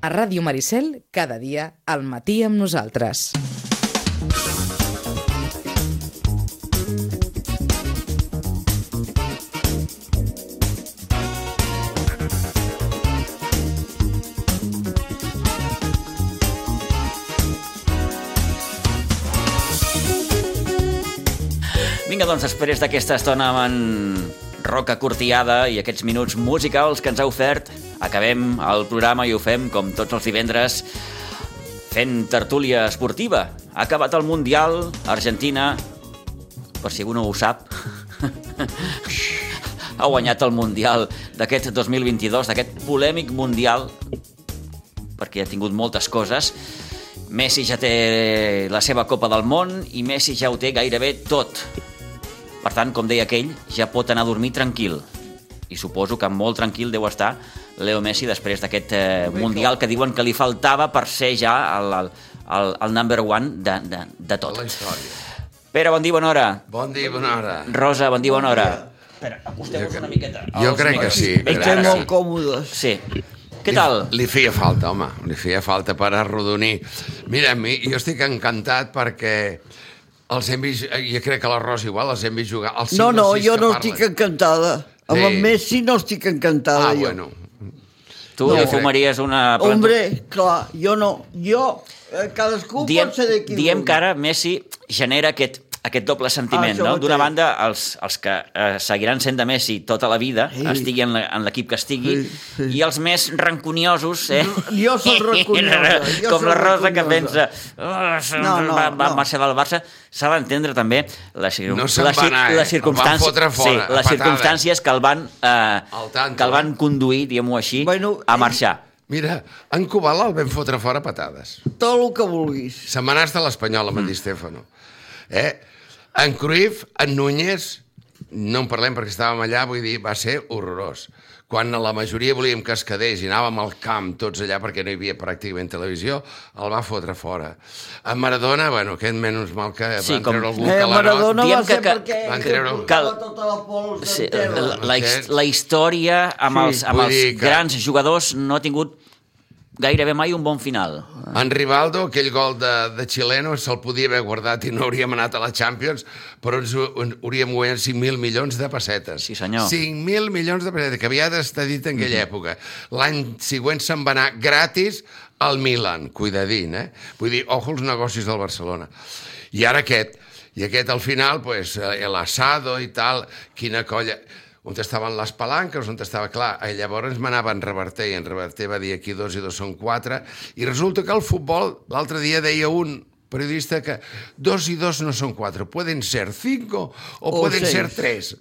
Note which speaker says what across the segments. Speaker 1: A Ràdio Maricel, cada dia, al matí amb nosaltres.
Speaker 2: Vinga, doncs, després d'aquesta estona amb en Roca Cortiada i aquests minuts musicals que ens ha ofert, acabem el programa i ho fem, com tots els divendres, fent tertúlia esportiva. Ha acabat el Mundial, Argentina, per si algú no ho sap, ha guanyat el Mundial d'aquest 2022, d'aquest polèmic Mundial, perquè ha tingut moltes coses, Messi ja té la seva Copa del Món i Messi ja ho té gairebé tot. Per tant, com deia aquell, ja pot anar a dormir tranquil. I suposo que molt tranquil deu estar Leo Messi després d'aquest eh, Mundial que diuen que li faltava per ser ja el, el, el, el number one de, de, de tot.
Speaker 3: La història.
Speaker 2: Pere, bon dia, bona hora.
Speaker 3: Bon dia, bona hora.
Speaker 2: Rosa, bon dia, bona hora. Espera, acosteu-vos
Speaker 3: Jo
Speaker 2: una miqueta.
Speaker 3: Jo
Speaker 2: als
Speaker 3: crec que
Speaker 2: micros.
Speaker 3: sí.
Speaker 4: Ens
Speaker 3: crec
Speaker 4: fem
Speaker 3: que
Speaker 4: Oh, molt
Speaker 3: sí.
Speaker 4: còmodes.
Speaker 2: Sí. Què tal?
Speaker 3: Li, li feia falta, home, li feia falta per arrodonir. Mira, mi, jo estic encantat perquè els hem vist, eh, jo crec que la Rosa igual, els hem vist jugar. Els
Speaker 4: No,
Speaker 3: cinc o
Speaker 4: no,
Speaker 3: sis
Speaker 4: jo
Speaker 3: que
Speaker 4: no
Speaker 3: parlen.
Speaker 4: estic encantada. Amb
Speaker 3: Sí.
Speaker 4: el Messi no estic encantada,
Speaker 3: Ah,
Speaker 4: jo.
Speaker 3: bueno.
Speaker 2: Tu
Speaker 3: No.
Speaker 2: li fumaries una... planta-
Speaker 4: Hombre, clar, jo no. Jo, eh, cadascú
Speaker 2: diem,
Speaker 4: pot ser de qui
Speaker 2: diem
Speaker 4: vulgui.
Speaker 2: que ara Messi genera aquest, aquest doble sentiment,
Speaker 4: Ah, això
Speaker 2: no?
Speaker 4: ho
Speaker 2: D'una
Speaker 4: té.
Speaker 2: banda, els, els que eh, seguiran sent de Messi tota la vida,
Speaker 4: Sí.
Speaker 2: estigui en la- en l'equip que estigui,
Speaker 4: Sí, sí.
Speaker 2: i els més ranconiosos, eh?
Speaker 4: Jo sóc rancunyosa, jo
Speaker 2: Com
Speaker 4: sóc
Speaker 2: la Rosa que
Speaker 4: rancunyosa.
Speaker 2: pensa... Oh,
Speaker 4: No, no,
Speaker 2: va, va
Speaker 4: no.
Speaker 2: marxar del Barça. S'ha d'entendre també la, cir-
Speaker 3: No se'n
Speaker 2: la,
Speaker 3: va
Speaker 2: cir-
Speaker 3: anar, eh?
Speaker 2: les
Speaker 3: El van
Speaker 2: circumstàncies,
Speaker 3: fotre
Speaker 2: sí,
Speaker 3: fora, a
Speaker 2: les
Speaker 3: patades.
Speaker 2: circumstàncies que el van,
Speaker 3: Al
Speaker 2: eh,
Speaker 3: tanto,
Speaker 2: que el van
Speaker 3: eh?
Speaker 2: conduir, diguem-ho així,
Speaker 4: Bueno, eh,
Speaker 2: a
Speaker 4: ell-
Speaker 2: marxar.
Speaker 3: Mira, en Kubala el vam fotre fora a patades.
Speaker 4: Tot el que vulguis.
Speaker 3: Setmanars de l'Espanyol amb mm. en Di Stefano. Eh? En Cruyff, en Núñez, no en parlem perquè estàvem allà, vull dir, va ser horrorós. Quan la majoria volíem que es quedés i anàvem al camp tots allà perquè no hi havia pràcticament televisió, el va fotre fora. En Maradona, bueno, aquest menys mal que
Speaker 2: Sí,
Speaker 3: sí, van
Speaker 2: com-
Speaker 3: treure algun
Speaker 4: Eh,
Speaker 3: calarot.
Speaker 4: Maradona
Speaker 2: Diem
Speaker 4: va
Speaker 2: que-
Speaker 4: ser
Speaker 2: que-
Speaker 4: perquè
Speaker 3: van treure un-
Speaker 2: Cal-
Speaker 4: tota la pols
Speaker 2: Sí,
Speaker 4: sí,
Speaker 2: la,
Speaker 4: terra.
Speaker 2: la, his- la història amb
Speaker 4: Sí.
Speaker 2: els, amb
Speaker 3: Vull
Speaker 2: els
Speaker 3: dir que-
Speaker 2: grans jugadors no ha tingut gairebé mai un bon final.
Speaker 3: En Rivaldo, aquell gol de, de Chileno, se'l podia haver guardat i no hauríem anat a la Champions, però ens ho- en- hauríem guanyat 5.000 milions de pessetes.
Speaker 2: Sí, senyor.
Speaker 3: 5.000 milions de pessetes, que havia d'estar dit en aquella època. L'any següent se'n va anar gratis al Milan, cuidadín, eh? Vull dir, ojo els negocis del Barcelona. I ara aquest, i aquest al final, pues, eh, l'asado i tal, quina colla on estaven les palanques, on estava clar. I llavors m'anava en Reverter, i en Reverter va dir aquí dos i dos són quatre, i resulta que el futbol, l'altre dia deia un periodista que dos i dos no són quatre, pueden ser cinco o,
Speaker 4: O
Speaker 3: pueden
Speaker 4: seis.
Speaker 3: ser tres.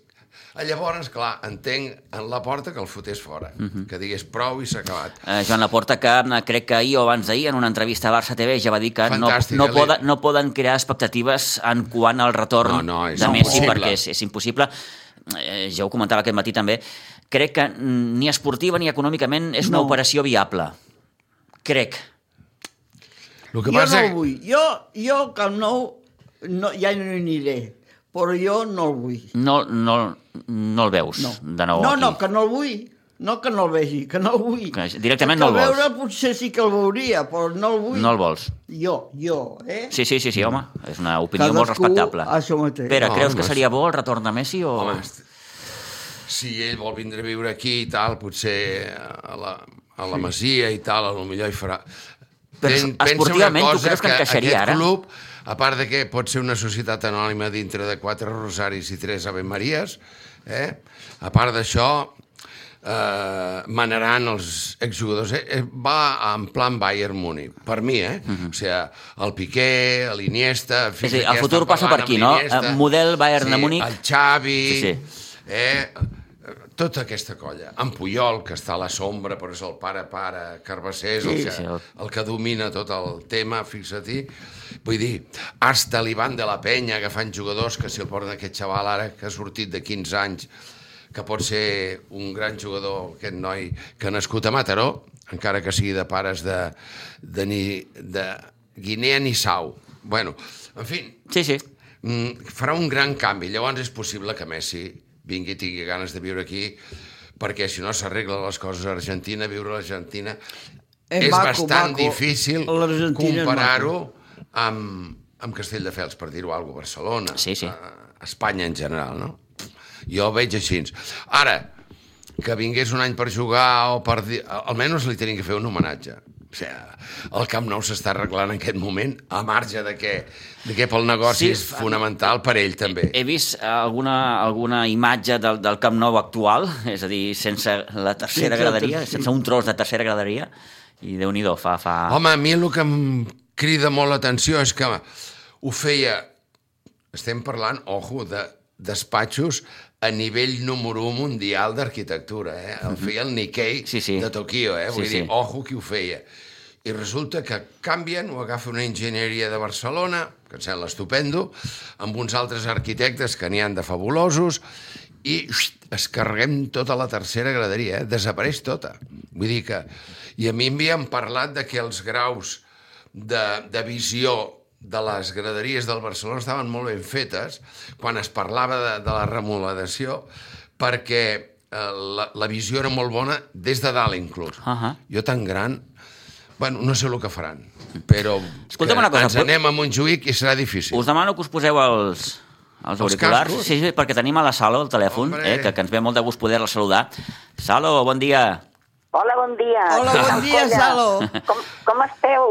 Speaker 3: A Ah, Llavors, clar, entenc en la porta que el fotés fora, que digués prou i s'ha acabat.
Speaker 2: Eh, Joan Laporta, que eh, crec que ahir o abans d'ahir, en una entrevista a Barça TV, ja va dir que no,
Speaker 3: Fantàstic, eh,
Speaker 2: no,
Speaker 3: Ale.
Speaker 2: poden, no poden crear expectatives en quant al retorn
Speaker 3: No, no, és
Speaker 2: de Messi,
Speaker 3: impossible.
Speaker 2: perquè és, és impossible. Eh, ja ho comentava aquest matí també. Crec que mm, ni esportiva ni econòmicament és una
Speaker 4: No.
Speaker 2: operació viable. Crec.
Speaker 3: El
Speaker 4: Jo no el vull. Jo, jo Camp Nou no, ja no hi aniré, però jo no el vull.
Speaker 2: No, no, no el veus,
Speaker 4: No.
Speaker 2: de nou
Speaker 4: no,
Speaker 2: aquí.
Speaker 4: no, que no el vull. No que no el vegi, que no el vull.
Speaker 2: Que directament
Speaker 4: Que
Speaker 2: no el vols.
Speaker 4: veure potser sí que el veuria, però no el vull.
Speaker 2: No el vols.
Speaker 4: Jo, jo, eh?
Speaker 2: Sí, sí, sí, sí, home. És una opinió molt
Speaker 4: Cadascú
Speaker 2: respectable.
Speaker 4: això mateix.
Speaker 2: Pere,
Speaker 3: No,
Speaker 2: creus
Speaker 3: no
Speaker 2: que
Speaker 3: és-
Speaker 2: seria bo el retorn de Messi o...
Speaker 3: Home, est- si ell vol vindre a viure aquí i tal, potser a la, a la Masia i tal, a lo millor hi farà...
Speaker 2: Però
Speaker 3: Pen- pensa
Speaker 2: esportivament,
Speaker 3: una
Speaker 2: tu
Speaker 3: cosa,
Speaker 2: creus que encaixaria
Speaker 3: aquest
Speaker 2: ara?
Speaker 3: club, a part de que pot ser una societat anònima dintre de quatre rosaris i tres Ave Maries, eh? a part d'això, eh, manaran els exjugadors. Eh, eh, va en plan Bayern Múnich, per mi, eh? O sigui, el Piqué, l'Iniesta... fins
Speaker 2: Mhm. És a dir,
Speaker 3: aquí
Speaker 2: el
Speaker 3: estan
Speaker 2: futur passa
Speaker 3: parlant
Speaker 2: per aquí,
Speaker 3: amb
Speaker 2: no?
Speaker 3: l'Iniesta.
Speaker 2: Eh, model Bayern de
Speaker 3: sí,
Speaker 2: Múnich.
Speaker 3: El Xavi,
Speaker 2: Sí, sí.
Speaker 3: Eh, tota aquesta colla. En Puyol, que està a la sombra, però és el pare-pare, Carbassés, el,
Speaker 2: Sí,
Speaker 3: que,
Speaker 2: sí, el-
Speaker 3: el que domina tot el tema, fixa-t'hi. Vull dir, hasta l'Ivan de la Penya, agafant jugadors que si el porten aquest xaval ara, que ha sortit de 15 anys, que pot ser un gran jugador, aquest noi, que ha nascut a Mataró, encara que sigui de pares de, de, ni, de Guinea Nissau. Bueno, en fi,
Speaker 2: Sí, sí.
Speaker 3: mm, farà un gran canvi. Llavors és possible que Messi vingui i tingui ganes de viure aquí, perquè si no s'arreglen les coses a Argentina, viure a Argentina...
Speaker 4: Eh,
Speaker 3: és
Speaker 4: maco,
Speaker 3: bastant
Speaker 4: maco.
Speaker 3: difícil
Speaker 4: L'Argentina és
Speaker 3: comparar-ho amb, amb Castelldefels, per dir-ho alguna cosa, Barcelona,
Speaker 2: Sí, sí.
Speaker 3: a- a Espanya en general, no? Jo ho veig així. Ara, que vingués un any per jugar o per dir... Almenys li tenien que fer un homenatge. O sigui, el Camp Nou s'està arreglant en aquest moment, a marge de que, de que pel negoci
Speaker 2: Sí,
Speaker 3: sí, és fonamental per ell també.
Speaker 2: He vist alguna, alguna imatge del, del Camp Nou actual, és a dir, sense la tercera
Speaker 4: Sense la
Speaker 2: graderia,
Speaker 4: ter- sí.
Speaker 2: sense un tros de tercera graderia, i Déu-n'hi-do, fa... fa...
Speaker 3: Home, a mi el que em crida molt l'atenció és que ho feia... Estem parlant, ojo, de despatxos a nivell número 1 mundial d'arquitectura, eh? El feia el Nikkei
Speaker 2: Mhm. Sí, sí.
Speaker 3: de Tokio, eh? Vull
Speaker 2: Sí,
Speaker 3: dir,
Speaker 2: sí.
Speaker 3: ojo qui ho feia. I resulta que canvien, ho agafa una enginyeria de Barcelona, que em sembla estupendo, amb uns altres arquitectes que n'hi han de fabulosos, i xt, es carreguem tota la tercera graderia, eh? desapareix tota. Vull dir que... I a mi m'havien parlat de que els graus de, de visió de les graderies del Barcelona estaven molt ben fetes quan es parlava de, de la remodelació perquè eh, la, la visió era molt bona des de dalt inclús.
Speaker 2: Ahà.
Speaker 3: Jo tan gran... Bueno, no sé el que faran, però
Speaker 2: Escolta'm
Speaker 3: que
Speaker 2: una cosa,
Speaker 3: ens
Speaker 2: pot-
Speaker 3: anem a Montjuïc i serà difícil.
Speaker 2: Us demano que us poseu els, els auriculars,
Speaker 3: cascos?
Speaker 2: sí, sí, perquè tenim a la Salo el telèfon,
Speaker 3: Hombre.
Speaker 2: eh, que, que ens ve molt de gust poder-la saludar. Salo, bon dia.
Speaker 5: Hola, bon dia.
Speaker 4: Hola, bon dia,
Speaker 5: Ampolla.
Speaker 4: Salo.
Speaker 5: Com, com esteu?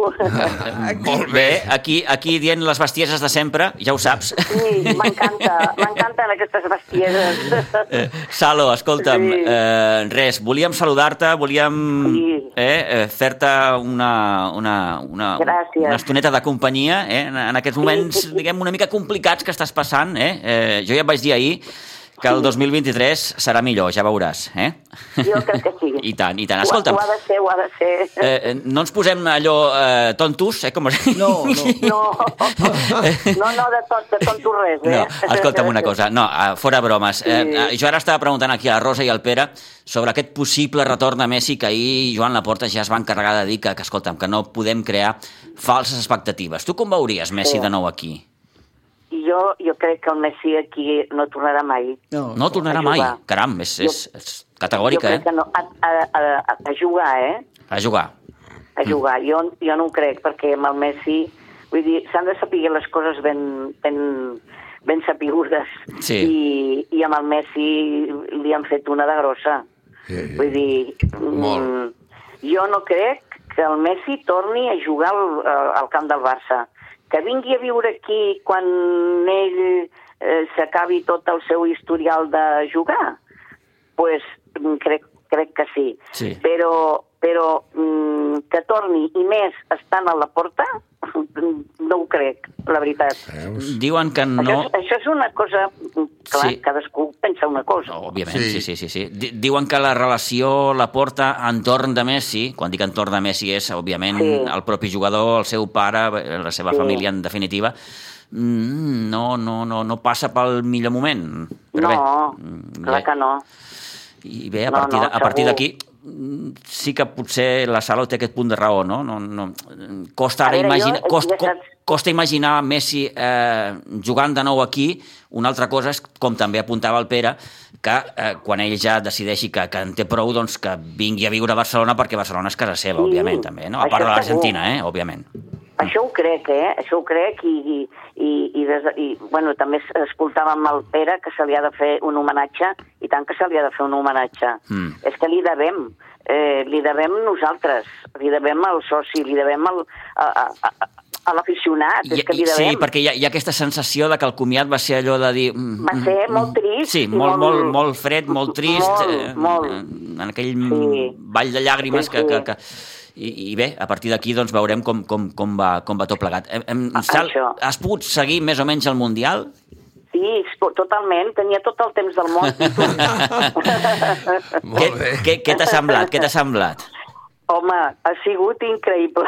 Speaker 3: Molt
Speaker 2: Bé, aquí, aquí dient les bestieses de sempre, ja ho saps.
Speaker 5: Sí, m'encanta, m'encanten aquestes bestieses.
Speaker 2: Eh, Salo, escolta'm,
Speaker 5: Sí.
Speaker 2: eh, res, volíem saludar-te, volíem
Speaker 5: Sí.
Speaker 2: eh, eh, fer-te una, una, una,
Speaker 5: Gràcies.
Speaker 2: una estoneta de companyia eh, en, en aquests moments, diguem, una mica complicats que estàs passant. Eh? Eh, jo ja et vaig dir ahir que el 2023 serà millor, ja veuràs. Eh?
Speaker 5: Jo crec que sí.
Speaker 2: I tant, i tant. Escolta'm,
Speaker 5: Ho, ho ha de ser, ho ha de ser.
Speaker 2: eh, eh, no ens posem allò eh, tontos, eh, com es...
Speaker 4: No, no.
Speaker 5: No, no, no, de tot, de tot tu res, eh?
Speaker 2: No, escolta'm una cosa, no, eh, fora bromes. Eh, eh, jo ara estava preguntant aquí a la Rosa i al Pere sobre aquest possible retorn de Messi que ahir Joan Laporta ja es va encarregar de dir que, que escolta'm, que no podem crear falses expectatives. Tu com veuries Messi
Speaker 5: Sí.
Speaker 2: de nou aquí?
Speaker 5: Jo, jo crec que el Messi aquí no tornarà mai.
Speaker 4: No,
Speaker 2: No tornarà mai.
Speaker 5: jugar.
Speaker 2: Caram, és, és, és categòrica,
Speaker 5: jo crec
Speaker 2: eh?
Speaker 5: que no, a, a, a, a jugar, eh?
Speaker 2: A jugar.
Speaker 5: a
Speaker 3: Mm.
Speaker 5: jugar. Jo, jo no ho crec, perquè amb el Messi... Vull dir, s'han de saber les coses ben, ben, ben sapigudes.
Speaker 2: Sí.
Speaker 5: I, I amb el Messi li han fet una de grossa.
Speaker 3: Sí, sí.
Speaker 5: Vull dir...
Speaker 3: Molt.
Speaker 5: mm, Jo no crec que el Messi torni a jugar al, eh, al- al camp del Barça. Que vingui a viure aquí quan ell eh, s'acabi tot el seu historial de jugar pues, mm, crec, crec que sí.
Speaker 2: Sí.
Speaker 5: Però, però mm, que torni, i més estant a la porta, no ho crec, la veritat.
Speaker 3: Veus?
Speaker 2: Diuen que no...
Speaker 5: Això, és- això és una cosa... mm, Clar,
Speaker 2: Sí.
Speaker 5: sí. cadascú pensa una cosa.
Speaker 2: Òbviament, sí.
Speaker 3: Sí.
Speaker 2: sí, sí, sí. Di- Diuen que la relació la porta entorn de Messi, quan dic entorn de Messi és, òbviament, sí.
Speaker 5: Sí.
Speaker 2: el propi jugador, el seu pare, eh, la seva sí.
Speaker 5: Sí.
Speaker 2: família, en definitiva, Mm, no, no, no, no passa pel millor moment. Però
Speaker 5: no,
Speaker 2: bé, mm,
Speaker 5: clar
Speaker 2: bé.
Speaker 5: que no.
Speaker 2: I bé, a
Speaker 5: No,
Speaker 2: partir,
Speaker 5: no,
Speaker 2: de- a partir
Speaker 5: segur.
Speaker 2: d'aquí mm, sí que potser la sala té aquest punt de raó, no? no, no. Costa, ara
Speaker 5: A veure, jo,
Speaker 2: imaginar,
Speaker 5: eh,
Speaker 2: costa,
Speaker 5: ja saps-
Speaker 2: costa imaginar Messi eh, jugant de nou aquí. Una altra cosa és, com també apuntava el Pere, que eh, quan ell ja decideixi que, que en té prou, doncs que vingui a viure a Barcelona, perquè Barcelona és casa seva,
Speaker 5: Sí,
Speaker 2: òbviament, també, no? A
Speaker 5: això
Speaker 2: part de
Speaker 5: segur.
Speaker 2: l'Argentina, eh, òbviament.
Speaker 5: Això ho crec, eh? Això ho crec i, i, i, i, des, de- i bueno, també es- escoltàvem el Pere que se li ha de fer un homenatge i tant que se li ha de fer un homenatge.
Speaker 2: Mm.
Speaker 5: És que li devem, eh, li devem nosaltres, li devem al soci, li devem al, a, a, a, a l'aficionat, és
Speaker 2: I-
Speaker 5: que li
Speaker 2: i- sí,
Speaker 5: devem.
Speaker 2: perquè hi ha, hi ha aquesta sensació de que el comiat va ser allò de dir... mm,
Speaker 5: Va ser
Speaker 2: mm,
Speaker 5: molt trist
Speaker 2: Sí,
Speaker 5: i
Speaker 2: molt, molt,
Speaker 5: molt-
Speaker 2: molt fred, molt trist,
Speaker 5: molt,
Speaker 2: eh,
Speaker 5: molt.
Speaker 2: eh, en aquell
Speaker 5: Sí.
Speaker 2: ball de llàgrimes
Speaker 5: Sí,
Speaker 2: que... que,
Speaker 5: sí.
Speaker 2: que i, I bé, a partir d'aquí doncs veurem com, com, com, va, com va tot plegat. Em, em,
Speaker 5: A-
Speaker 2: Sal,
Speaker 5: Ah, això.
Speaker 2: has pogut seguir més o menys el Mundial?
Speaker 5: Sí, to- totalment, tenia tot el temps del món.
Speaker 3: Molt bé.
Speaker 2: Què, què, què t'ha semblat? Què t'ha semblat?
Speaker 5: Home, ha sigut increïble,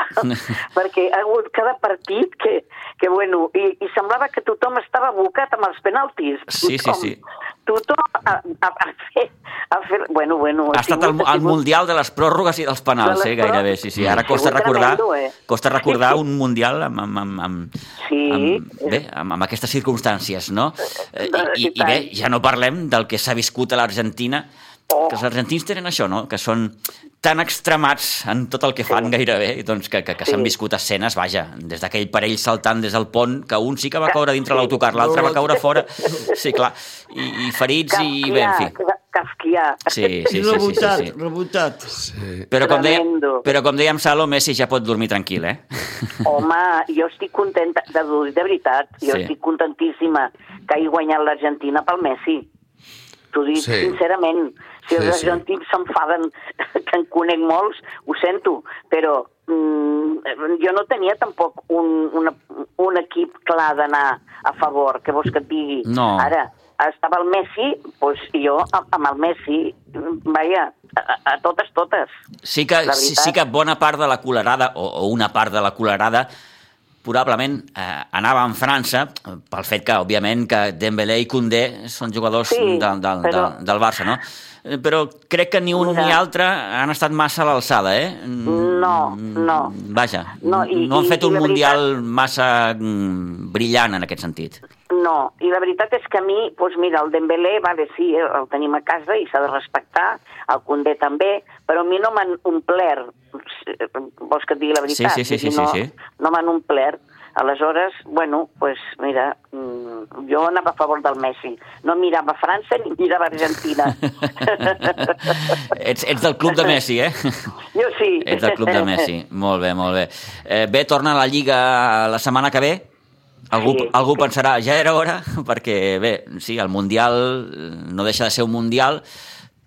Speaker 5: perquè ha hagut cada partit que, que bueno, i, i semblava que tothom estava abocat amb els penaltis.
Speaker 2: Sí, sí,
Speaker 5: Tothom-
Speaker 2: sí.
Speaker 5: Tothom a, a, a, fer, a fer... Bueno, bueno...
Speaker 2: Ha estat el,
Speaker 5: sigut- ha
Speaker 2: el
Speaker 5: sigut-
Speaker 2: Mundial de les pròrrogues i dels penals,
Speaker 5: De
Speaker 2: eh,
Speaker 5: les
Speaker 2: gairebé,
Speaker 5: pròrrogues.
Speaker 2: sí, sí. Ara
Speaker 5: Ha
Speaker 2: costa
Speaker 5: sigut
Speaker 2: recordar,
Speaker 5: tremendo, eh?
Speaker 2: costa recordar un Mundial amb, amb, amb, amb,
Speaker 5: Sí.
Speaker 2: amb, bé, amb, amb aquestes circumstàncies, no? Eh, I, i,
Speaker 5: I
Speaker 2: I bé,
Speaker 5: tant.
Speaker 2: ja no parlem del que s'ha viscut a l'Argentina,
Speaker 5: Oh.
Speaker 2: que els argentins tenen això, no? Que són tan extremats en tot el que fan gairebé, doncs que, que, que s'han
Speaker 5: Sí.
Speaker 2: viscut escenes, vaja, des d'aquell parell saltant des del pont, que un sí que va
Speaker 5: Que-
Speaker 2: caure dintre
Speaker 5: sí.
Speaker 2: l'autocar, l'altre va
Speaker 4: No, no.
Speaker 2: caure fora, sí, clar, i, i ferits i bé, en fi.
Speaker 5: Kafkià.
Speaker 2: Sí, sí, sí, sí, sí,
Speaker 4: rebotat,
Speaker 2: sí.
Speaker 4: rebotat.
Speaker 2: Però com, deia,
Speaker 5: Tremendo.
Speaker 2: però com dèiem, Salo, Messi ja pot dormir tranquil, eh?
Speaker 5: Home, jo estic contenta, de, de veritat, jo
Speaker 2: Sí.
Speaker 5: estic contentíssima que hagi guanyat l'Argentina pel Messi. T'ho dic
Speaker 3: Sí.
Speaker 5: sí. sincerament.
Speaker 3: Sí,
Speaker 5: Si sí, els
Speaker 3: sí.
Speaker 5: argentins s'enfaden, que en conec molts, ho sento, però mm, jo no tenia tampoc un, una, un equip clar d'anar a favor, que vols que et digui?
Speaker 2: No.
Speaker 5: Ara, estava el Messi, doncs jo a- amb el Messi, vaja, a, a totes, totes.
Speaker 2: Sí que,
Speaker 5: La
Speaker 2: sí,
Speaker 5: veritat.
Speaker 2: sí que bona part de la colerada, o, o una part de la colerada, probablement eh, anava en França, eh, pel fet que, òbviament, que Dembélé i Koundé són jugadors
Speaker 5: Sí,
Speaker 2: del, del,
Speaker 5: però-
Speaker 2: del, del Barça, no? Eh, Però crec que ni un
Speaker 5: Mira.
Speaker 2: ni altre han estat massa a l'alçada, eh? Mm,
Speaker 5: No, no.
Speaker 2: Vaja, no,
Speaker 5: No,
Speaker 2: i,
Speaker 5: i-
Speaker 2: no han
Speaker 5: i-
Speaker 2: fet
Speaker 5: i
Speaker 2: un
Speaker 5: la
Speaker 2: Mundial massa mm, brillant en aquest sentit.
Speaker 5: No, i la veritat és que a mi, doncs mira, el Dembélé, vale, sí, eh, el tenim a casa i s'ha de respectar, el Condé també, però a mi no m'han omplert, eh, vols que et digui la
Speaker 2: Sí,
Speaker 5: veritat?
Speaker 2: sí, sí, sí,
Speaker 5: Vull dir, no,
Speaker 2: sí, sí.
Speaker 5: No m'han omplert. Aleshores, bueno, doncs mira, mm, jo anava a favor del Messi. No mirava França ni mirava Argentina.
Speaker 2: ets, ets del club de Messi, eh?
Speaker 5: jo sí.
Speaker 2: Ets del club de Messi. Molt bé, molt bé. Eh, bé, torna a la Lliga la setmana que ve. Algú, sí.
Speaker 5: Sí.
Speaker 2: algú pensarà, ja era hora, perquè, bé, sí, el Mundial eh, no deixa de ser un Mundial,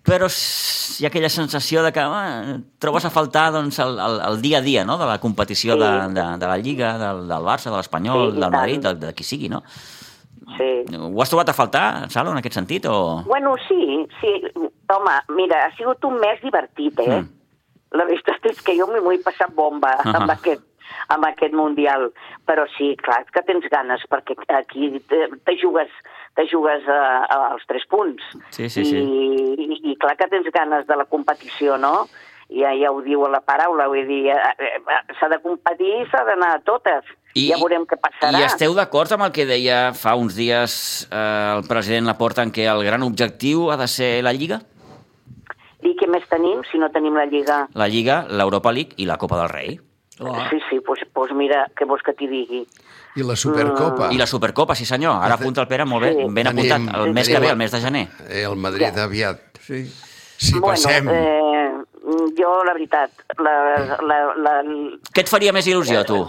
Speaker 2: però s- hi ha aquella sensació de que ah, trobes a faltar doncs, el, el, el dia a dia no? de la competició
Speaker 5: Sí.
Speaker 2: de, de, de la Lliga, del, del Barça, de l'Espanyol,
Speaker 5: Sí, i
Speaker 2: del Madrid, de,
Speaker 5: tant.
Speaker 2: de qui sigui, no?
Speaker 5: Sí.
Speaker 2: Ho has trobat a faltar, Salo, en aquest sentit? O...
Speaker 5: Bueno, sí, sí. Home, mira, ha sigut un mes divertit,
Speaker 2: Mm.
Speaker 5: eh? Mm. La veritat és que jo m'hi vull passar bomba uh -huh. amb,
Speaker 2: Ahà.
Speaker 5: aquest, amb aquest Mundial. Però sí, clar, és que tens ganes, perquè aquí te, te jugues, te jugues a, a, als tres punts.
Speaker 2: Sí, sí,
Speaker 5: I,
Speaker 2: sí.
Speaker 5: I, I clar que tens ganes de la competició, no? Ja, ja ho diu la paraula, vull dir, eh, eh, s'ha de competir i s'ha d'anar a totes. I, ja veurem què passarà.
Speaker 2: I esteu d'acord amb el que deia fa uns dies eh, el president Laporta en què el gran objectiu ha de ser la Lliga?
Speaker 5: I què més tenim si no tenim la Lliga?
Speaker 2: La Lliga, l'Europa League i la Copa del Rei.
Speaker 4: Clar.
Speaker 5: Sí, sí, doncs, doncs mira, què vols que t'hi digui?
Speaker 3: I la Supercopa.
Speaker 2: I la Supercopa, sí senyor. Ara apunta el Pere, molt bé,
Speaker 5: Sí.
Speaker 2: ben apuntat. El
Speaker 3: Tenim-
Speaker 2: mes que
Speaker 3: tenim-
Speaker 2: ve, el mes de gener.
Speaker 3: Eh, el Madrid aviat.
Speaker 4: Sí.
Speaker 3: Si passem...
Speaker 5: eh, jo, la veritat, la, la, la,
Speaker 2: Què et faria més il·lusió, a tu?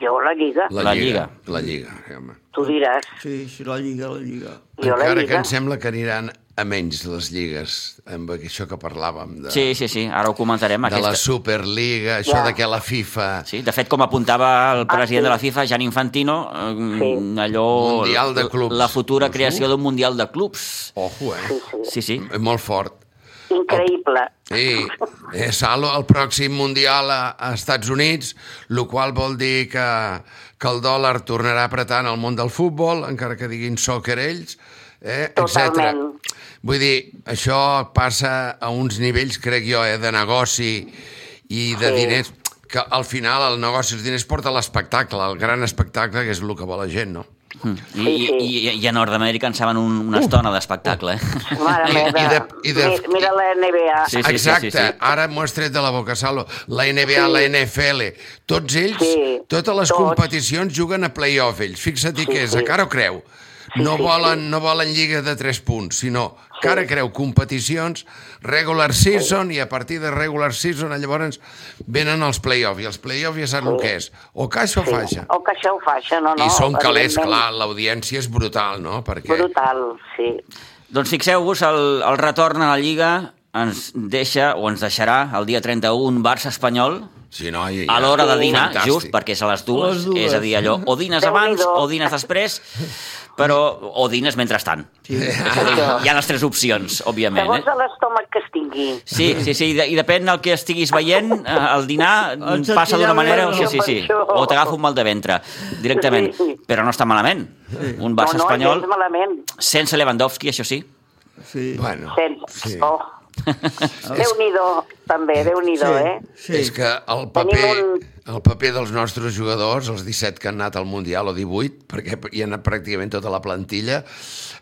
Speaker 5: jo la Lliga,
Speaker 2: la Lliga.
Speaker 3: La Lliga, home.
Speaker 5: tu diràs.
Speaker 4: Sí, sí, la lliga, la lliga.
Speaker 5: Jo la
Speaker 3: Encara que
Speaker 5: Lliga.
Speaker 3: em sembla que aniran a menys les lligues, amb això que parlàvem de,
Speaker 2: Sí, sí, sí, ara ho comentarem.
Speaker 3: de la
Speaker 2: Aquesta...
Speaker 3: Superliga, això
Speaker 5: Ja.
Speaker 3: de que la FIFA...
Speaker 2: Sí, de fet, com apuntava el
Speaker 5: Ah,
Speaker 2: president
Speaker 5: sí.
Speaker 2: de la FIFA, Jan Infantino, eh,
Speaker 5: Sí.
Speaker 2: allò...
Speaker 3: Mundial de clubs. Doncs
Speaker 2: La futura
Speaker 3: Ojo.
Speaker 2: creació d'un Mundial de Clubs.
Speaker 3: Ojo, eh?
Speaker 5: Sí, sí.
Speaker 2: Sí, sí.
Speaker 3: Molt fort.
Speaker 5: Increïble.
Speaker 3: I eh, Salo, el pròxim Mundial a, a Estats Units, el qual vol dir que, que el dòlar tornarà a apretar en el món del futbol, encara que diguin soccer ells, eh, etc.
Speaker 5: Totalment.
Speaker 3: Vull dir, això passa a uns nivells, crec jo, eh, de negoci i de
Speaker 5: Sí.
Speaker 3: diners, que al final el negoci, els diners porta a l'espectacle, el gran espectacle, que és el que vol la gent, no?
Speaker 2: Mm. I,
Speaker 5: Sí, sí.
Speaker 2: i, i, i a Nord-Amèrica en saben un, una estona d'espectacle, eh?
Speaker 5: Mare
Speaker 3: Oh. I-
Speaker 5: meva.
Speaker 3: i de- i de-
Speaker 5: Mi- Mira la NBA.
Speaker 2: Sí, sí.
Speaker 3: Exacte,
Speaker 2: sí.
Speaker 3: ara m'ho has tret de la boca, Salo. La NBA,
Speaker 5: Sí.
Speaker 3: la NFL, tots ells,
Speaker 5: Sí,
Speaker 3: totes les
Speaker 5: tots.
Speaker 3: competicions juguen a play-off ells. Fixa't sí,
Speaker 5: Sí,
Speaker 3: que és,
Speaker 5: sí.
Speaker 3: a cara o creu.
Speaker 5: Sí,
Speaker 3: No
Speaker 5: sí,
Speaker 3: volen,
Speaker 5: sí.
Speaker 3: no volen lliga de tres punts, sinó cara a creu, competicions, regular season, i a partir de regular season llavors venen els play-off, i els play-off ja saps el que és. O caixa o faixa.
Speaker 5: O que això ho faixa, no, no.
Speaker 3: I són calés,
Speaker 5: evidentment.
Speaker 3: clar, l'audiència és brutal, no? Perquè...
Speaker 5: Brutal, sí.
Speaker 2: Doncs fixeu-vos, el, el retorn a la Lliga ens deixa o ens deixarà el dia 31 Barça-Espanyol
Speaker 3: Sí, no, i,
Speaker 2: a l'hora de
Speaker 3: Sí.
Speaker 2: dinar,
Speaker 3: Fantàstic.
Speaker 2: just perquè és a les dues,
Speaker 4: Les dues.
Speaker 2: és a dir, allò, o dines abans
Speaker 5: Déu-n'hi-do.
Speaker 2: o dines després, però o dines mentrestant.
Speaker 4: Sí.
Speaker 2: És a dir, hi ha les tres opcions, òbviament.
Speaker 5: Segons
Speaker 2: Eh?
Speaker 5: de l'estómac que es tingui.
Speaker 2: Sí, sí, sí, i de- i depèn del que estiguis veient, eh, el dinar
Speaker 4: Ens
Speaker 2: passa d'una
Speaker 4: sentirà
Speaker 2: manera o
Speaker 4: bé,
Speaker 2: sí,
Speaker 4: no?
Speaker 2: sí, sí,
Speaker 5: Per això.
Speaker 2: o t'agafa un mal de ventre directament,
Speaker 5: Sí.
Speaker 2: però no està malament. Un
Speaker 5: no, no, gens
Speaker 2: Barça-Espanyol
Speaker 5: malament.
Speaker 2: sense Lewandowski, això sí.
Speaker 4: sí.
Speaker 3: Bueno,
Speaker 5: Sense.
Speaker 3: sí.
Speaker 5: Oh, Déu-n'hi-do, també, Déu-n'hi-do,
Speaker 4: Sí.
Speaker 5: eh?
Speaker 3: Sí. És que el paper,
Speaker 5: Tenim un-
Speaker 3: el paper dels nostres jugadors, els 17 que han anat al Mundial, o 18, perquè hi ha anat pràcticament tota la plantilla,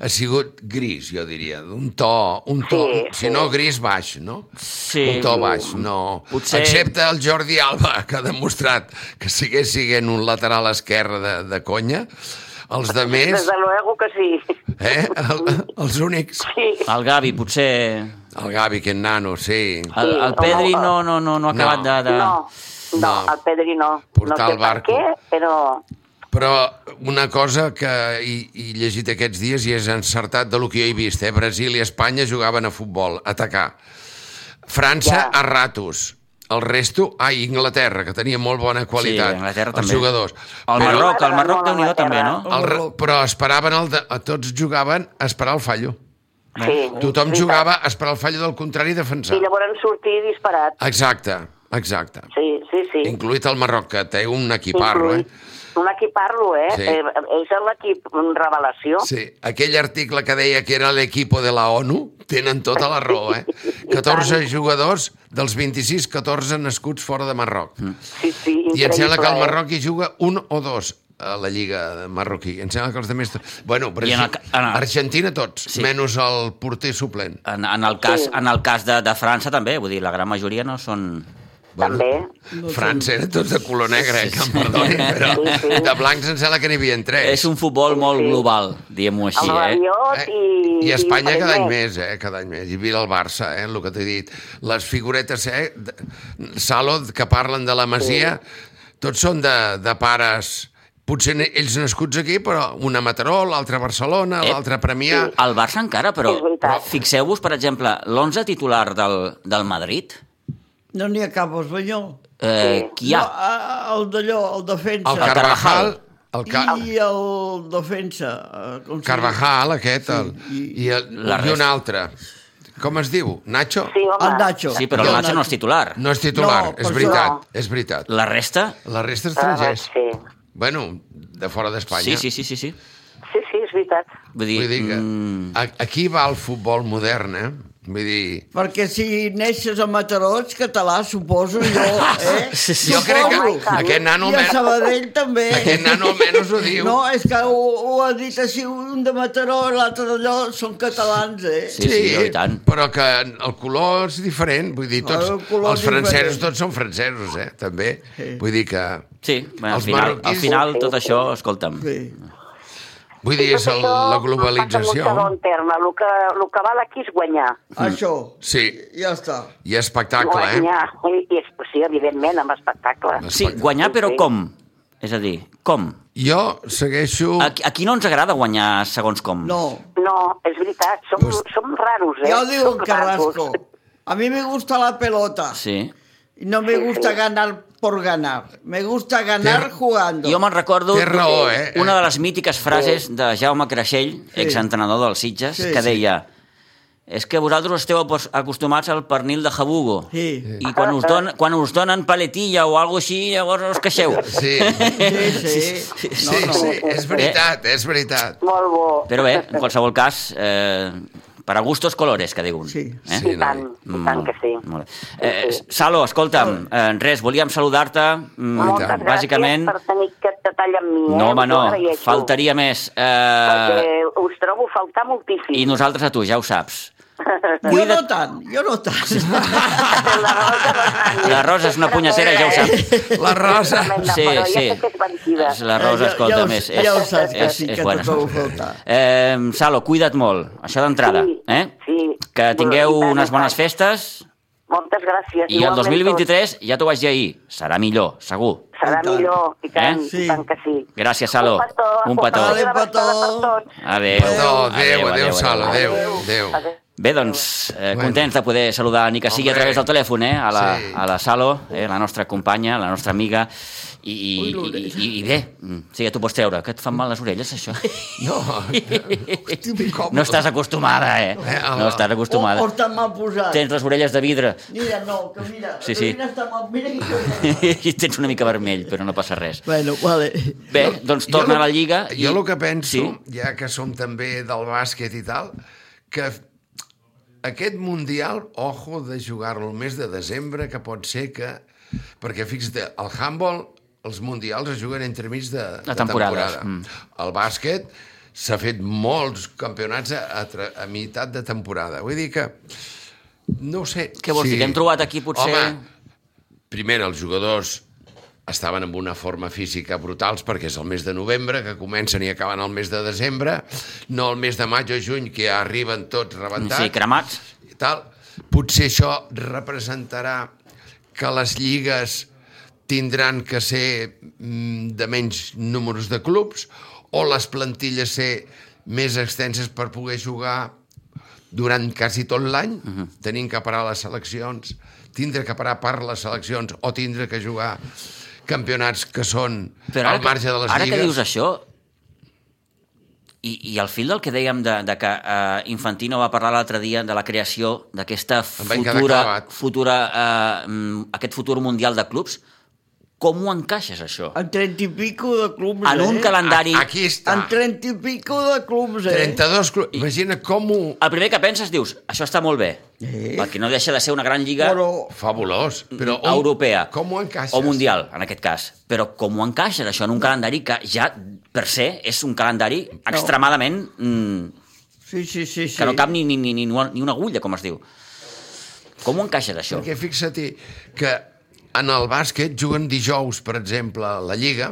Speaker 3: ha sigut gris, jo diria, d'un to, un to
Speaker 5: Sí,
Speaker 3: si
Speaker 5: sí.
Speaker 3: no gris baix, no?
Speaker 2: Sí.
Speaker 3: Un to baix, no.
Speaker 2: Potser-
Speaker 3: Excepte el Jordi Alba, que ha demostrat que sigués siguent un lateral esquerre de, de conya, els de més,
Speaker 5: Desde luego que sí.
Speaker 3: eh? El, els únics.
Speaker 5: Sí.
Speaker 2: El Gavi, potser...
Speaker 3: El Gavi, que nano, sí.
Speaker 2: El,
Speaker 5: Sí,
Speaker 2: el
Speaker 5: o
Speaker 2: Pedri
Speaker 5: no,
Speaker 2: no, no, no, no ha
Speaker 3: No.
Speaker 2: acabat de... de...
Speaker 5: No, no,
Speaker 3: No.
Speaker 5: el Pedri no.
Speaker 3: Portar
Speaker 5: no sé
Speaker 3: el barco.
Speaker 5: per què, però...
Speaker 3: Però una cosa que he, he llegit aquests dies i és encertat de lo que jo he vist, eh? Brasil i Espanya jugaven a futbol, a atacar. França,
Speaker 5: Ja.
Speaker 3: a ratos. El resto, ai, Inglaterra, que tenia molt bona qualitat.
Speaker 2: Anglaterra
Speaker 3: els
Speaker 2: també.
Speaker 3: jugadors.
Speaker 2: El
Speaker 3: Però-
Speaker 2: Marroc, el Marroc,
Speaker 5: Molt
Speaker 2: déu nhi també, no?
Speaker 3: El, ra- però esperaven el de, a tots jugaven a esperar el fallo.
Speaker 5: Sí,
Speaker 3: Tothom
Speaker 5: veritat.
Speaker 3: jugava a esperar el fallo del contrari i
Speaker 5: I
Speaker 3: defensar.
Speaker 5: llavors sortir disparat.
Speaker 3: Ah. Exacte, exacte.
Speaker 5: Sí, sí, sí.
Speaker 3: Incluït el Marroc, que té un equiparro, eh?
Speaker 5: Inclús. Un equiparlo, eh?
Speaker 3: Sí.
Speaker 5: eh és l'equip revelació.
Speaker 3: Sí, aquell article que deia que era l'equipo de la ONU, tenen tota la raó, eh? 14 jugadors, dels 26, 14 nascuts fora de Marroc.
Speaker 5: Sí, sí,
Speaker 3: I em
Speaker 5: increïble,
Speaker 3: sembla que
Speaker 5: eh?
Speaker 3: el Marroc hi juga un o dos a la Lliga marroquí. Em sembla que els demés... Bueno, Brasil,
Speaker 2: en el
Speaker 3: en
Speaker 2: ca- en el-
Speaker 3: Argentina tots,
Speaker 2: Sí.
Speaker 3: sí. menys el porter suplent.
Speaker 2: En, en el cas,
Speaker 5: Sí.
Speaker 2: en el cas de, de França també, vull dir, la gran majoria no són...
Speaker 5: També.
Speaker 3: França era tots de color negre, eh, que em perdoni,
Speaker 5: Sí, sí.
Speaker 3: però de blancs em sembla que n'hi havia tres.
Speaker 2: És un futbol molt
Speaker 5: Sí.
Speaker 2: global, diguem-ho així,
Speaker 5: el
Speaker 2: eh?
Speaker 5: Rabiot i...
Speaker 3: I a Espanya cada any
Speaker 5: Berenguer.
Speaker 3: més, eh? Cada any més. I mira el Barça, eh? El que t'he dit. Les figuretes, eh? de- Salo, que parlen de la Masia, tots són de, de pares... Potser ne- ells nascuts aquí, però una a Mataró, l'altra a Barcelona,
Speaker 2: Ep.
Speaker 3: l'altra a Premià...
Speaker 2: El Barça encara, però,
Speaker 5: És veritat.
Speaker 2: però fixeu-vos, per exemple, l'11 titular del, del Madrid,
Speaker 4: No n'hi ha cap espanyol.
Speaker 2: eh, qui hi ha?
Speaker 4: No, a- a- el d'allò, el defensa.
Speaker 3: El Carvajal... El Ca...
Speaker 4: I el defensa. eh, Com se
Speaker 3: Carvajal, aquest, el...
Speaker 4: i-
Speaker 3: i, el...
Speaker 2: La
Speaker 3: i un
Speaker 2: resta.
Speaker 3: altre. Com es diu? Nacho?
Speaker 5: Sí,
Speaker 4: diu?
Speaker 5: home.
Speaker 4: El Nacho.
Speaker 2: Sí, però el Nacho no és titular.
Speaker 3: No és titular,
Speaker 4: No,
Speaker 3: és
Speaker 4: per
Speaker 3: veritat,
Speaker 5: això.
Speaker 3: és veritat.
Speaker 2: La resta?
Speaker 3: La resta
Speaker 5: Ah,
Speaker 3: estrangers.
Speaker 5: sí.
Speaker 3: Bueno, de fora d'Espanya.
Speaker 2: Sí, sí, sí, sí, sí.
Speaker 5: sí, sí, és veritat.
Speaker 2: Vull dir,
Speaker 3: Vull dir que
Speaker 2: mm,
Speaker 3: a- aquí va el futbol modern, eh? Vull dir...
Speaker 4: Perquè si neixes a Mataró ets català, suposo jo, eh?
Speaker 2: Sí, sí.
Speaker 3: Jo crec que
Speaker 5: Suposo.
Speaker 3: aquest nano...
Speaker 4: I a
Speaker 3: almen-
Speaker 4: Sabadell també.
Speaker 3: Aquest nano almenys ho diu.
Speaker 4: No, és que ho, ho ha dit així un de Mataró i l'altre d'allò, són catalans, eh?
Speaker 2: Sí, sí, i tant.
Speaker 3: Però que el color és diferent, vull dir, tots,
Speaker 4: El color
Speaker 3: els
Speaker 4: és diferent.
Speaker 3: francesos tots són francesos, eh, també.
Speaker 4: Sí.
Speaker 3: Vull dir que...
Speaker 2: sí, bé, al
Speaker 3: Els
Speaker 2: final, al
Speaker 3: marroquins-
Speaker 2: final tot això, escolta'm,
Speaker 4: Sí.
Speaker 3: Vull dir, és el, la
Speaker 5: Passa en un
Speaker 3: globalització.
Speaker 5: segon terme. El que, el que val aquí és guanyar.
Speaker 4: Això,
Speaker 3: Sí,
Speaker 4: ja està.
Speaker 3: i espectacle, eh?
Speaker 5: guanyar. I, i, és- sí, evidentment, amb espectacle.
Speaker 2: Sí, guanyar, però com? És a dir, com?
Speaker 3: Jo segueixo...
Speaker 2: Aquí, aquí no ens agrada guanyar segons com.
Speaker 4: No,
Speaker 5: No, és veritat, som,
Speaker 3: Pues-
Speaker 5: som raros, eh?
Speaker 4: ja ho diu
Speaker 5: Som
Speaker 4: el Carrasco.
Speaker 5: raros.
Speaker 4: A mi me gusta la pelota.
Speaker 2: Sí.
Speaker 4: Y No me gusta ganar por ganar. Me gusta ganar
Speaker 3: Tiene-
Speaker 4: jugando.
Speaker 2: Jo me'n recordo
Speaker 3: Té raó, eh?
Speaker 2: una de les mítiques frases de Jaume Creixell, exentrenador dels Sitges,
Speaker 4: Sí,
Speaker 2: que
Speaker 4: sí.
Speaker 2: deia és que vosaltres esteu apos- acostumats al pernil de jabugo.
Speaker 4: Sí.
Speaker 2: I quan us, don, quan us donen paletilla o alguna així, llavors us queixeu.
Speaker 3: Sí,
Speaker 4: Sí, sí.
Speaker 3: sí,
Speaker 4: No, no.
Speaker 3: sí, és veritat, és veritat.
Speaker 5: Molt bo.
Speaker 2: Però bé, en qualsevol cas, eh, per a gustos colores, que diuen.
Speaker 4: Sí.
Speaker 2: Eh?
Speaker 3: Sí,
Speaker 5: I tant, i tant que sí.
Speaker 2: Mm, Molt bé. Eh, Salo, escolta'm, eh, res, volíem saludar-te. Mm,
Speaker 5: Moltes gràcies
Speaker 2: Bàsicament,
Speaker 5: per tenir aquest detall amb mi. Eh?
Speaker 2: no, home,
Speaker 5: Us ho
Speaker 2: no,
Speaker 5: agraeixo,
Speaker 2: faltaria més. Eh,
Speaker 5: Perquè us trobo a faltar moltíssim.
Speaker 2: I nosaltres a tu, ja ho saps.
Speaker 4: Yo no tan, yo no tan.
Speaker 5: La Rosa Fernández.
Speaker 2: La Rosa és una punyacera, ja ho saps.
Speaker 3: La Rosa...
Speaker 5: Tremenda,
Speaker 2: Sí,
Speaker 5: però
Speaker 2: sí.
Speaker 5: Ja sé que és mentida.
Speaker 2: La Rosa,
Speaker 4: Ja- ja
Speaker 2: escolta,
Speaker 4: ho-
Speaker 2: més.
Speaker 4: ja ho saps que sí, que
Speaker 2: bona.
Speaker 4: tot ho falta.
Speaker 2: Eh, Salo, cuida't molt, això d'entrada.
Speaker 5: Sí,
Speaker 2: eh?
Speaker 5: sí.
Speaker 2: Que tingueu
Speaker 5: Bueno, i tant,
Speaker 2: unes
Speaker 5: i
Speaker 2: bones
Speaker 5: tant.
Speaker 2: festes
Speaker 5: Moltes gràcies.
Speaker 2: i el
Speaker 5: igualment
Speaker 2: 2023, ja t'ho vaig dir ahir, serà millor, segur.
Speaker 5: tot. doncs, Serà
Speaker 4: I tant.
Speaker 5: millor, i tant,
Speaker 2: Eh?
Speaker 5: i tant que sí.
Speaker 2: Gràcies, Salo.
Speaker 5: Un petó.
Speaker 2: Un petó.
Speaker 5: i una
Speaker 4: Adéu, petó.
Speaker 5: abraçada per tots.
Speaker 2: Adéu.
Speaker 3: Perdó, adéu, adéu, Salo, adéu, adéu.
Speaker 5: Adéu.
Speaker 2: Bé, doncs, eh, contents de poder saludar ni que sigui a
Speaker 3: Hombre.
Speaker 2: través del telèfon, eh, a la,
Speaker 3: Sí.
Speaker 2: a la Salo, eh, la nostra companya, la nostra amiga, i, i,
Speaker 4: Ui, l'orella.
Speaker 2: i, i, i bé, mm, sí, ja t'ho pots treure, que et fan mal les orelles, això.
Speaker 3: No, hosti, com-
Speaker 2: No estàs acostumada, eh?
Speaker 3: a la-
Speaker 2: No estàs
Speaker 4: O,
Speaker 2: acostumada.
Speaker 3: Oh,
Speaker 4: o està mal posat.
Speaker 2: Tens les orelles de vidre
Speaker 4: Mira, no, que mira.
Speaker 2: Sí,
Speaker 4: Sí,
Speaker 2: sí.
Speaker 4: sí. Mira, està mal, mira que...
Speaker 2: i tens una mica vermell, però no passa res.
Speaker 4: Bueno, vale.
Speaker 2: Bé, doncs
Speaker 3: Jo
Speaker 2: torna
Speaker 3: lo-
Speaker 2: a la Lliga. i-
Speaker 3: Jo el que penso,
Speaker 2: Sí,
Speaker 3: ja que som també del bàsquet i tal, que Aquest Mundial, ojo de jugar-lo el mes de desembre, que pot ser que... Perquè fixa't, el handball, els Mundials es juguen entremig de, de
Speaker 2: temporades,
Speaker 3: temporada.
Speaker 2: mm.
Speaker 3: El bàsquet s'ha fet molts campionats a, a, tra- a meitat de temporada. Vull dir que... No ho sé.
Speaker 2: Què vols dir, que hem trobat aquí potser-
Speaker 3: Home, primer, els jugadors estaven amb una forma física brutals perquè és el mes de novembre, que comencen i acaben el mes de desembre, no el mes de maig o juny, que ja arriben tots rebentats
Speaker 2: Mm, Sí, cremats.
Speaker 3: i tal. Potser això representarà que les lligues tindran que ser mm, de menys números de clubs o les plantilles ser més extenses per poder jugar durant quasi tot l'any, uh
Speaker 2: Mhm.
Speaker 3: -huh. tenint que parar les seleccions, tindre que parar per les seleccions o tindre que jugar campionats que són
Speaker 2: Però ara,
Speaker 3: al marge de les
Speaker 2: ara
Speaker 3: lligues.
Speaker 2: que dius això, i, i al fil del que dèiem de, de que uh, Infantino va parlar l'altre dia de la creació d'aquesta
Speaker 3: Em vaig quedar
Speaker 2: futura,
Speaker 3: clavat.
Speaker 2: futura uh, aquest futur mundial de clubs, com ho encaixes, això?
Speaker 4: En 30 i pico de clubs,
Speaker 2: En un
Speaker 4: Ah, eh?
Speaker 2: calendari...
Speaker 3: A- Aquí està.
Speaker 4: En 30 i pico de clubs, eh?
Speaker 3: 32 clubs. Imagina com ho...
Speaker 2: El primer que penses dius, això està molt bé,
Speaker 4: Eh?
Speaker 2: perquè no deixa de ser una gran lliga
Speaker 4: Però
Speaker 3: Fabulós. Però on,
Speaker 2: europea.
Speaker 3: Com ho encaixes?
Speaker 2: O mundial, en aquest cas. Però com ho encaixes, això, en un calendari que ja, per se, és un calendari extremadament... Mm,
Speaker 4: Sí, sí, sí. sí.
Speaker 2: que no cap ni, ni, ni, ni ni una agulla, com es diu. Com ho encaixes, això?
Speaker 3: Perquè fixa-t'hi que en el bàsquet juguen dijous, per exemple, la Lliga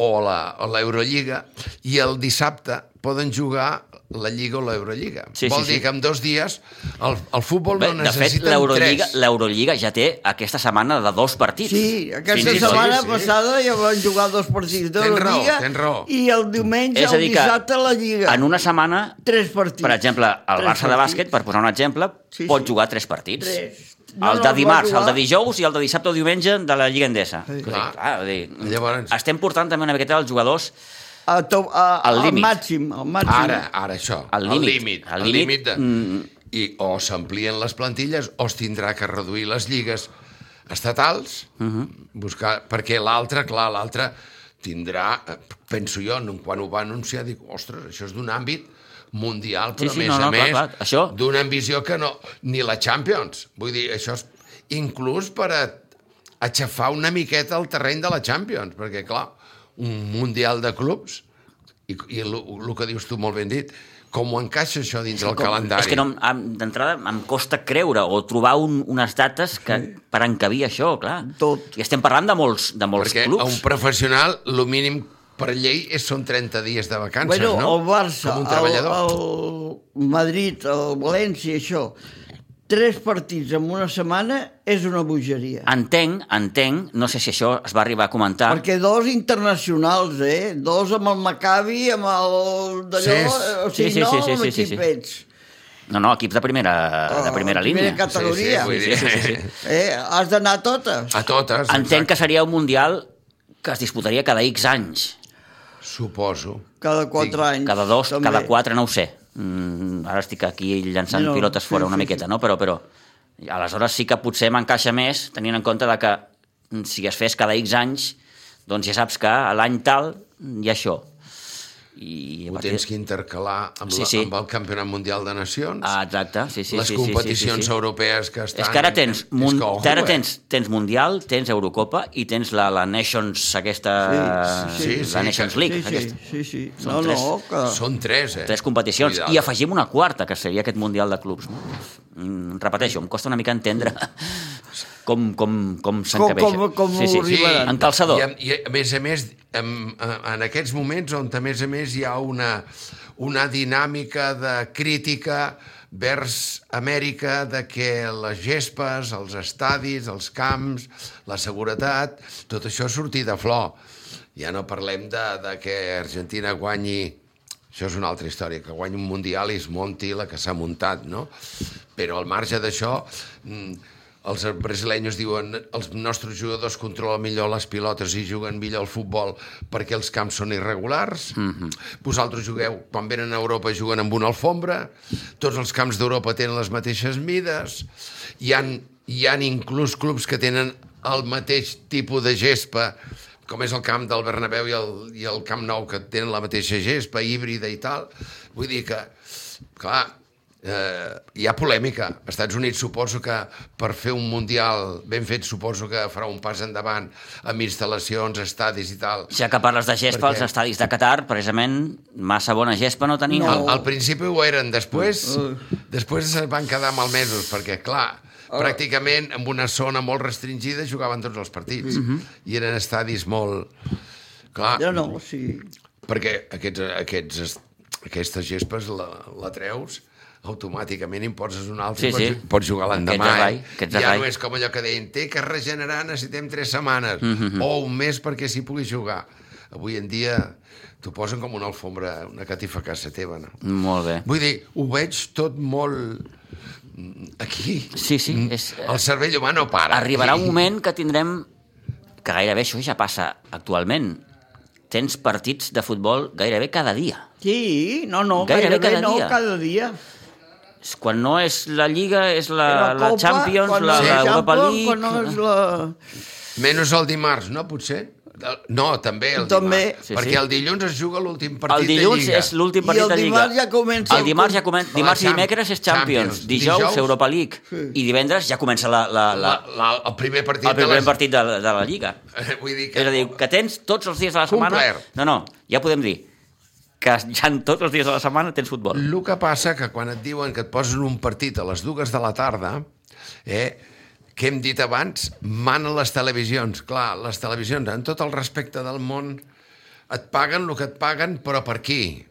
Speaker 3: o la- o l'Eurolliga i el dissabte poden jugar la Lliga o l'Eurolliga.
Speaker 2: Sí, sí,
Speaker 3: Vol dir
Speaker 2: sí.
Speaker 3: que en dos dies el, el futbol
Speaker 2: Bé,
Speaker 3: no
Speaker 2: de fet,
Speaker 3: necessita
Speaker 2: l'Eurolliga
Speaker 3: tres.
Speaker 2: l'Eurolliga ja té aquesta setmana de dos partits.
Speaker 4: Sí, aquesta
Speaker 2: Fins i tot.
Speaker 4: setmana
Speaker 3: sí.
Speaker 4: passada ja van jugar dos partits de
Speaker 3: Tens
Speaker 4: la
Speaker 3: raó,
Speaker 4: Lliga
Speaker 3: tens raó.
Speaker 4: i el diumenge,
Speaker 2: És a
Speaker 4: el
Speaker 2: dir que
Speaker 4: dissabte, la Lliga.
Speaker 2: En una setmana,
Speaker 4: Tres partits.
Speaker 2: per exemple, el
Speaker 4: Tres
Speaker 2: Barça de
Speaker 4: partits.
Speaker 2: bàsquet, per posar un exemple,
Speaker 4: Sí,
Speaker 2: pot
Speaker 4: sí.
Speaker 2: jugar tres partits.
Speaker 4: Tres. No,
Speaker 2: El
Speaker 4: no,
Speaker 2: de
Speaker 4: es va
Speaker 2: dimarts, el
Speaker 4: jugar.
Speaker 2: de dijous i el de dissabte o diumenge de la Lliga Endesa. Sí. Clar,
Speaker 3: Clar.
Speaker 2: clar, vull
Speaker 4: Ah,
Speaker 2: dir,
Speaker 3: Llavors-
Speaker 2: estem portant també una miqueta els jugadors
Speaker 4: A to, a,
Speaker 2: Al
Speaker 4: al,
Speaker 2: límit.
Speaker 4: màxim, al màxim.
Speaker 3: Ara, ara això,
Speaker 2: Al
Speaker 3: el
Speaker 2: límit,
Speaker 3: límit,
Speaker 2: al
Speaker 3: el
Speaker 2: límit, Mm.
Speaker 3: límit de... I o s'amplien les plantilles o es tindrà que reduir les lligues estatals,
Speaker 2: Mhm.
Speaker 3: buscar... Perquè l'altre, clar, l'altre tindrà, eh, penso jo, en- quan ho va anunciar, dic, ostres, això és d'un àmbit mundial,
Speaker 2: Sí,
Speaker 3: però
Speaker 2: sí,
Speaker 3: a més
Speaker 2: no, no,
Speaker 3: a
Speaker 2: clar,
Speaker 3: més,
Speaker 2: clar, això-
Speaker 3: d'una ambició que no... Ni la Champions. Vull dir, això és inclús per a aixafar una miqueta el terreny de la Champions, perquè, clar, un Mundial de Clubs, i, i el, el que dius tu molt ben dit, com ho encaixa això dins del
Speaker 2: Com-
Speaker 3: calendari?
Speaker 2: És que no, em- em- d'entrada em costa creure o trobar un, unes dates que, per encabir això, clar.
Speaker 4: Tot.
Speaker 2: I estem parlant de molts, de molts
Speaker 3: Perquè a un
Speaker 2: clubs.
Speaker 3: professional, el mínim per llei és, són 30 dies de vacances,
Speaker 4: Bueno,
Speaker 3: no?
Speaker 4: el Barça,
Speaker 3: Com un
Speaker 4: el,
Speaker 3: treballador.
Speaker 4: el Madrid, el València, això, tres partits en una setmana és una bogeria.
Speaker 2: Entenc, entenc, no sé si això es va arribar a comentar,
Speaker 4: Perquè dos internacionals, eh? Dos amb el Maccabi, amb el d'allò... eh,
Speaker 3: Sí,
Speaker 4: O
Speaker 2: sí,
Speaker 4: sigui,
Speaker 2: sí,
Speaker 4: no
Speaker 2: sí, sí,
Speaker 4: amb
Speaker 2: sí, sí, sí.
Speaker 4: xipets.
Speaker 2: no, no, equips de primera, de primera
Speaker 4: Ah,
Speaker 2: línia.
Speaker 4: Primera categoria.
Speaker 3: vull
Speaker 2: Sí,
Speaker 3: dir-
Speaker 2: sí, sí, sí.
Speaker 4: Eh, has d'anar a
Speaker 2: Ah,
Speaker 4: totes.
Speaker 3: A totes,
Speaker 2: Entenc
Speaker 3: exacte.
Speaker 2: que seria un mundial que es disputaria cada X anys,
Speaker 3: Suposo.
Speaker 4: Cada quatre
Speaker 3: Sí,
Speaker 4: anys.
Speaker 2: cada dos,
Speaker 4: també.
Speaker 2: cada quatre, no ho sé. Mm, ara estic aquí llançant
Speaker 4: No,
Speaker 2: pilotes fora
Speaker 4: sí,
Speaker 2: una
Speaker 4: sí,
Speaker 2: miqueta, no? Però, però aleshores sí que potser m'encaixa més tenint en compte de que mm, si es fes cada X anys, doncs ja saps que a l'any tal mm, hi ha això. I a
Speaker 3: Ho
Speaker 2: partir-
Speaker 3: tens que intercalar amb,
Speaker 2: Sí,
Speaker 3: la,
Speaker 2: sí.
Speaker 3: amb el Campionat Mundial de Nacions,
Speaker 2: Ah, exacte, sí, sí.
Speaker 3: les
Speaker 2: sí, sí, sí,
Speaker 3: competicions
Speaker 2: sí, sí.
Speaker 3: europees que estan...
Speaker 2: És que ara tens,
Speaker 3: És
Speaker 2: mun...
Speaker 3: que, ojo,
Speaker 2: ara
Speaker 3: eh?
Speaker 2: tens, tens Mundial, tens Eurocopa i tens la, la Nations aquesta...
Speaker 4: Sí, sí,
Speaker 3: sí,
Speaker 2: la
Speaker 3: sí,
Speaker 2: Nations
Speaker 3: que-
Speaker 2: League.
Speaker 4: Sí,
Speaker 2: aquesta.
Speaker 4: sí, sí, sí.
Speaker 2: Són
Speaker 4: No,
Speaker 2: tres.
Speaker 4: no, que...
Speaker 3: Són tres, eh?
Speaker 2: Ah. tres competicions
Speaker 3: Cuidado.
Speaker 2: i afegim una quarta, que seria aquest Mundial de Clubs. no? Mm, repeteixo, em costa una mica entendre com, com, com s'encabeixa.
Speaker 4: com- com
Speaker 2: sí, sí.
Speaker 4: arribaran.
Speaker 2: En calçador.
Speaker 3: I, a- i a més a més, en, en aquests moments on a més a més hi ha una, una dinàmica de crítica vers Amèrica de que les gespes, els estadis, els camps, la seguretat, tot això és sortir de flor. Ja no parlem de, de que Argentina guanyi això és una altra història, que guanyi un Mundial i es munti la que s'ha muntat, no? Però al marge d'això, mm, els brasilenyos diuen els nostres jugadors controlen millor les pilotes i juguen millor al futbol perquè els camps són irregulars. Mm -hmm. Vosaltres jugueu, quan venen a Europa, juguen amb una alfombra. Tots els camps d'Europa tenen les mateixes mides. Hi han, hi han inclús clubs que tenen el mateix tipus de gespa com és el camp del Bernabéu i el, i el Camp Nou, que tenen la mateixa gespa híbrida i tal. Vull dir que, clar, eh, hi ha polèmica. Als Estats Units suposo que per fer un Mundial ben fet suposo que farà un pas endavant amb instal·lacions, estadis i tal.
Speaker 2: Ja que parles de gespa,
Speaker 3: Per què?
Speaker 2: els estadis de Qatar, precisament, massa bona gespa no tenien.
Speaker 4: No.
Speaker 3: Al, al principi ho eren, després, després es van quedar malmesos, perquè, clar, pràcticament en una zona molt restringida jugaven tots els partits. I eren estadis molt... Clar,
Speaker 4: Ja no, sí.
Speaker 3: perquè aquests, aquests, est- aquestes gespes la, la treus automàticament en poses una altra
Speaker 2: Sí,
Speaker 3: i pots,
Speaker 2: sí.
Speaker 3: pots jugar l'endemà.
Speaker 2: Aquest arrai,
Speaker 3: eh?
Speaker 2: aquest
Speaker 3: ja
Speaker 2: arrai.
Speaker 3: no és com allò que deien, té que regenerar, necessitem tres setmanes
Speaker 2: Mm,
Speaker 3: o un mes perquè s'hi pugui jugar. Avui en dia t'ho posen com una alfombra, una catifa a casa teva. No?
Speaker 2: Molt bé.
Speaker 3: Vull dir, ho veig tot molt mm, aquí.
Speaker 2: Sí, sí,
Speaker 3: Mm,
Speaker 2: és- eh,
Speaker 3: El cervell humà no para.
Speaker 2: Arribarà un
Speaker 3: Aquí.
Speaker 2: moment que tindrem... Que gairebé això ja passa actualment. Tens partits de futbol gairebé cada dia.
Speaker 4: Sí, no, no,
Speaker 2: Gairebé
Speaker 4: gairebé,
Speaker 2: cada
Speaker 4: no,
Speaker 2: dia.
Speaker 4: cada dia.
Speaker 2: És Quan no és la Lliga, és la,
Speaker 4: La,
Speaker 2: Ah, la,
Speaker 4: Copa,
Speaker 2: Champions,
Speaker 4: quan
Speaker 2: la,
Speaker 4: no és
Speaker 2: la Europa
Speaker 4: Champions,
Speaker 2: League...
Speaker 4: Quan no és la...
Speaker 3: Menys el dimarts, no, potser? El- No, també el
Speaker 4: També.
Speaker 3: dimarts.
Speaker 2: Sí,
Speaker 3: perquè
Speaker 2: sí.
Speaker 3: el dilluns es juga l'últim partit
Speaker 2: el dilluns
Speaker 3: de Lliga.
Speaker 2: és l'últim
Speaker 4: I
Speaker 2: partit
Speaker 4: el
Speaker 2: de Lliga.
Speaker 4: dimarts ja comença
Speaker 2: El
Speaker 4: el
Speaker 2: dimarts,
Speaker 4: com-
Speaker 2: ja comença,
Speaker 3: la
Speaker 2: dimarts i
Speaker 3: Champ-
Speaker 2: dimecres és Champions,
Speaker 3: Champions.
Speaker 2: dijous,
Speaker 3: Dijous.
Speaker 2: Europa League, i divendres ja comença la, la, la,
Speaker 3: La, la, el primer partit
Speaker 2: el primer
Speaker 3: de les...
Speaker 2: partit de, la- de la Lliga.
Speaker 3: Vull dir que...
Speaker 2: És a dir, que tens tots els dies de la setmana...
Speaker 3: Complert.
Speaker 2: No, no, ja podem dir que ja en tots els dies de la setmana tens futbol.
Speaker 3: El que passa que quan et diuen que et posen un partit a les dues de la tarda, eh, que hem dit abans, manen les televisions. Clar, les televisions, en tot el respecte del món, et paguen el que et paguen, però per qui?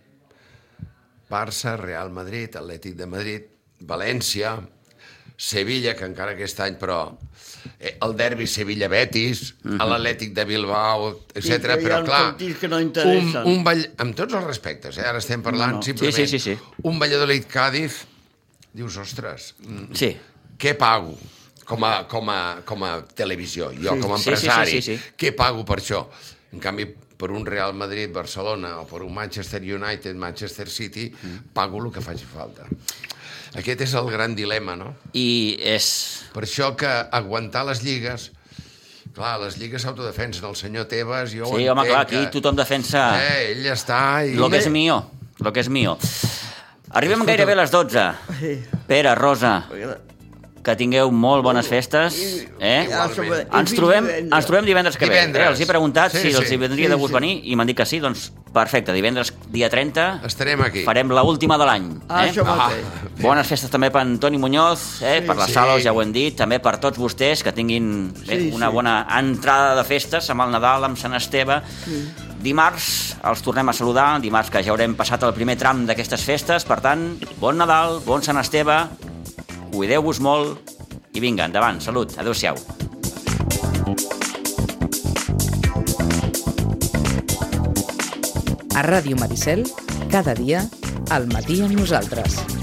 Speaker 3: Barça, Real Madrid, Atlètic de Madrid, València, Sevilla, que encara aquest any, però eh, el derbi Sevilla-Betis, l'Atlètic de Bilbao,
Speaker 4: Sí,
Speaker 3: etc.
Speaker 4: que hi ha
Speaker 3: Però
Speaker 4: uns
Speaker 3: clar,
Speaker 4: partits que no
Speaker 3: un,
Speaker 4: interessen.
Speaker 3: un ball... amb tots els respectes, eh? ara estem parlant no. simplement.
Speaker 2: Sí, sí, sí, sí.
Speaker 3: Un Valladolid-Càdiz, dius, ostres, mm,
Speaker 2: Sí.
Speaker 3: què pago? Com a, com a, com a televisió, jo com a
Speaker 2: Sí, sí, sí, sí,
Speaker 3: empresari,
Speaker 2: sí.
Speaker 3: què pago per això? En canvi, per un Real Madrid, Barcelona, o per un Manchester United, Manchester City,
Speaker 2: Mm.
Speaker 3: pago el que faci falta. Aquest és el gran dilema, no?
Speaker 2: I és...
Speaker 3: Per això que aguantar les lligues... Clar, les lligues s'autodefensen, el senyor Tebas... Jo ho
Speaker 2: Sí, home,
Speaker 3: entenc
Speaker 2: clar, aquí
Speaker 3: que-
Speaker 2: tothom defensa
Speaker 3: Eh, ell està... I...
Speaker 2: lo que és mío, lo que és mío. Arribem gairebé a les 12. Pere, Rosa, que tingueu molt bones festes. Eh?
Speaker 4: Ja, sobre-
Speaker 2: Ens
Speaker 4: i
Speaker 2: trobem,
Speaker 4: divendres.
Speaker 2: ens trobem divendres que
Speaker 3: Divendres.
Speaker 2: ve. Eh? Els he preguntat
Speaker 3: Sí,
Speaker 2: si
Speaker 3: sí.
Speaker 2: els hi vendria
Speaker 4: Sí,
Speaker 2: de gust
Speaker 4: sí.
Speaker 2: venir i m'han dit que sí, doncs perfecte, divendres dia 30
Speaker 3: Estarem aquí.
Speaker 2: farem la última de l'any.
Speaker 4: Ah,
Speaker 2: eh?
Speaker 4: això mateix.
Speaker 2: Bones festes també per Antoni Muñoz, eh? per la
Speaker 3: sí.
Speaker 2: sala, ja ho hem dit, també per tots vostès que tinguin bé,
Speaker 4: Sí,
Speaker 2: una
Speaker 4: sí.
Speaker 2: bona entrada de festes amb el Nadal, amb Sant Esteve. Dimarts els tornem a saludar, dimarts que ja haurem passat el primer tram d'aquestes festes, per tant, bon Nadal, bon Sant Esteve, cuideu-vos molt i vinga, endavant, salut, adeu-siau.
Speaker 1: A Ràdio Maricel, cada dia, al matí amb nosaltres.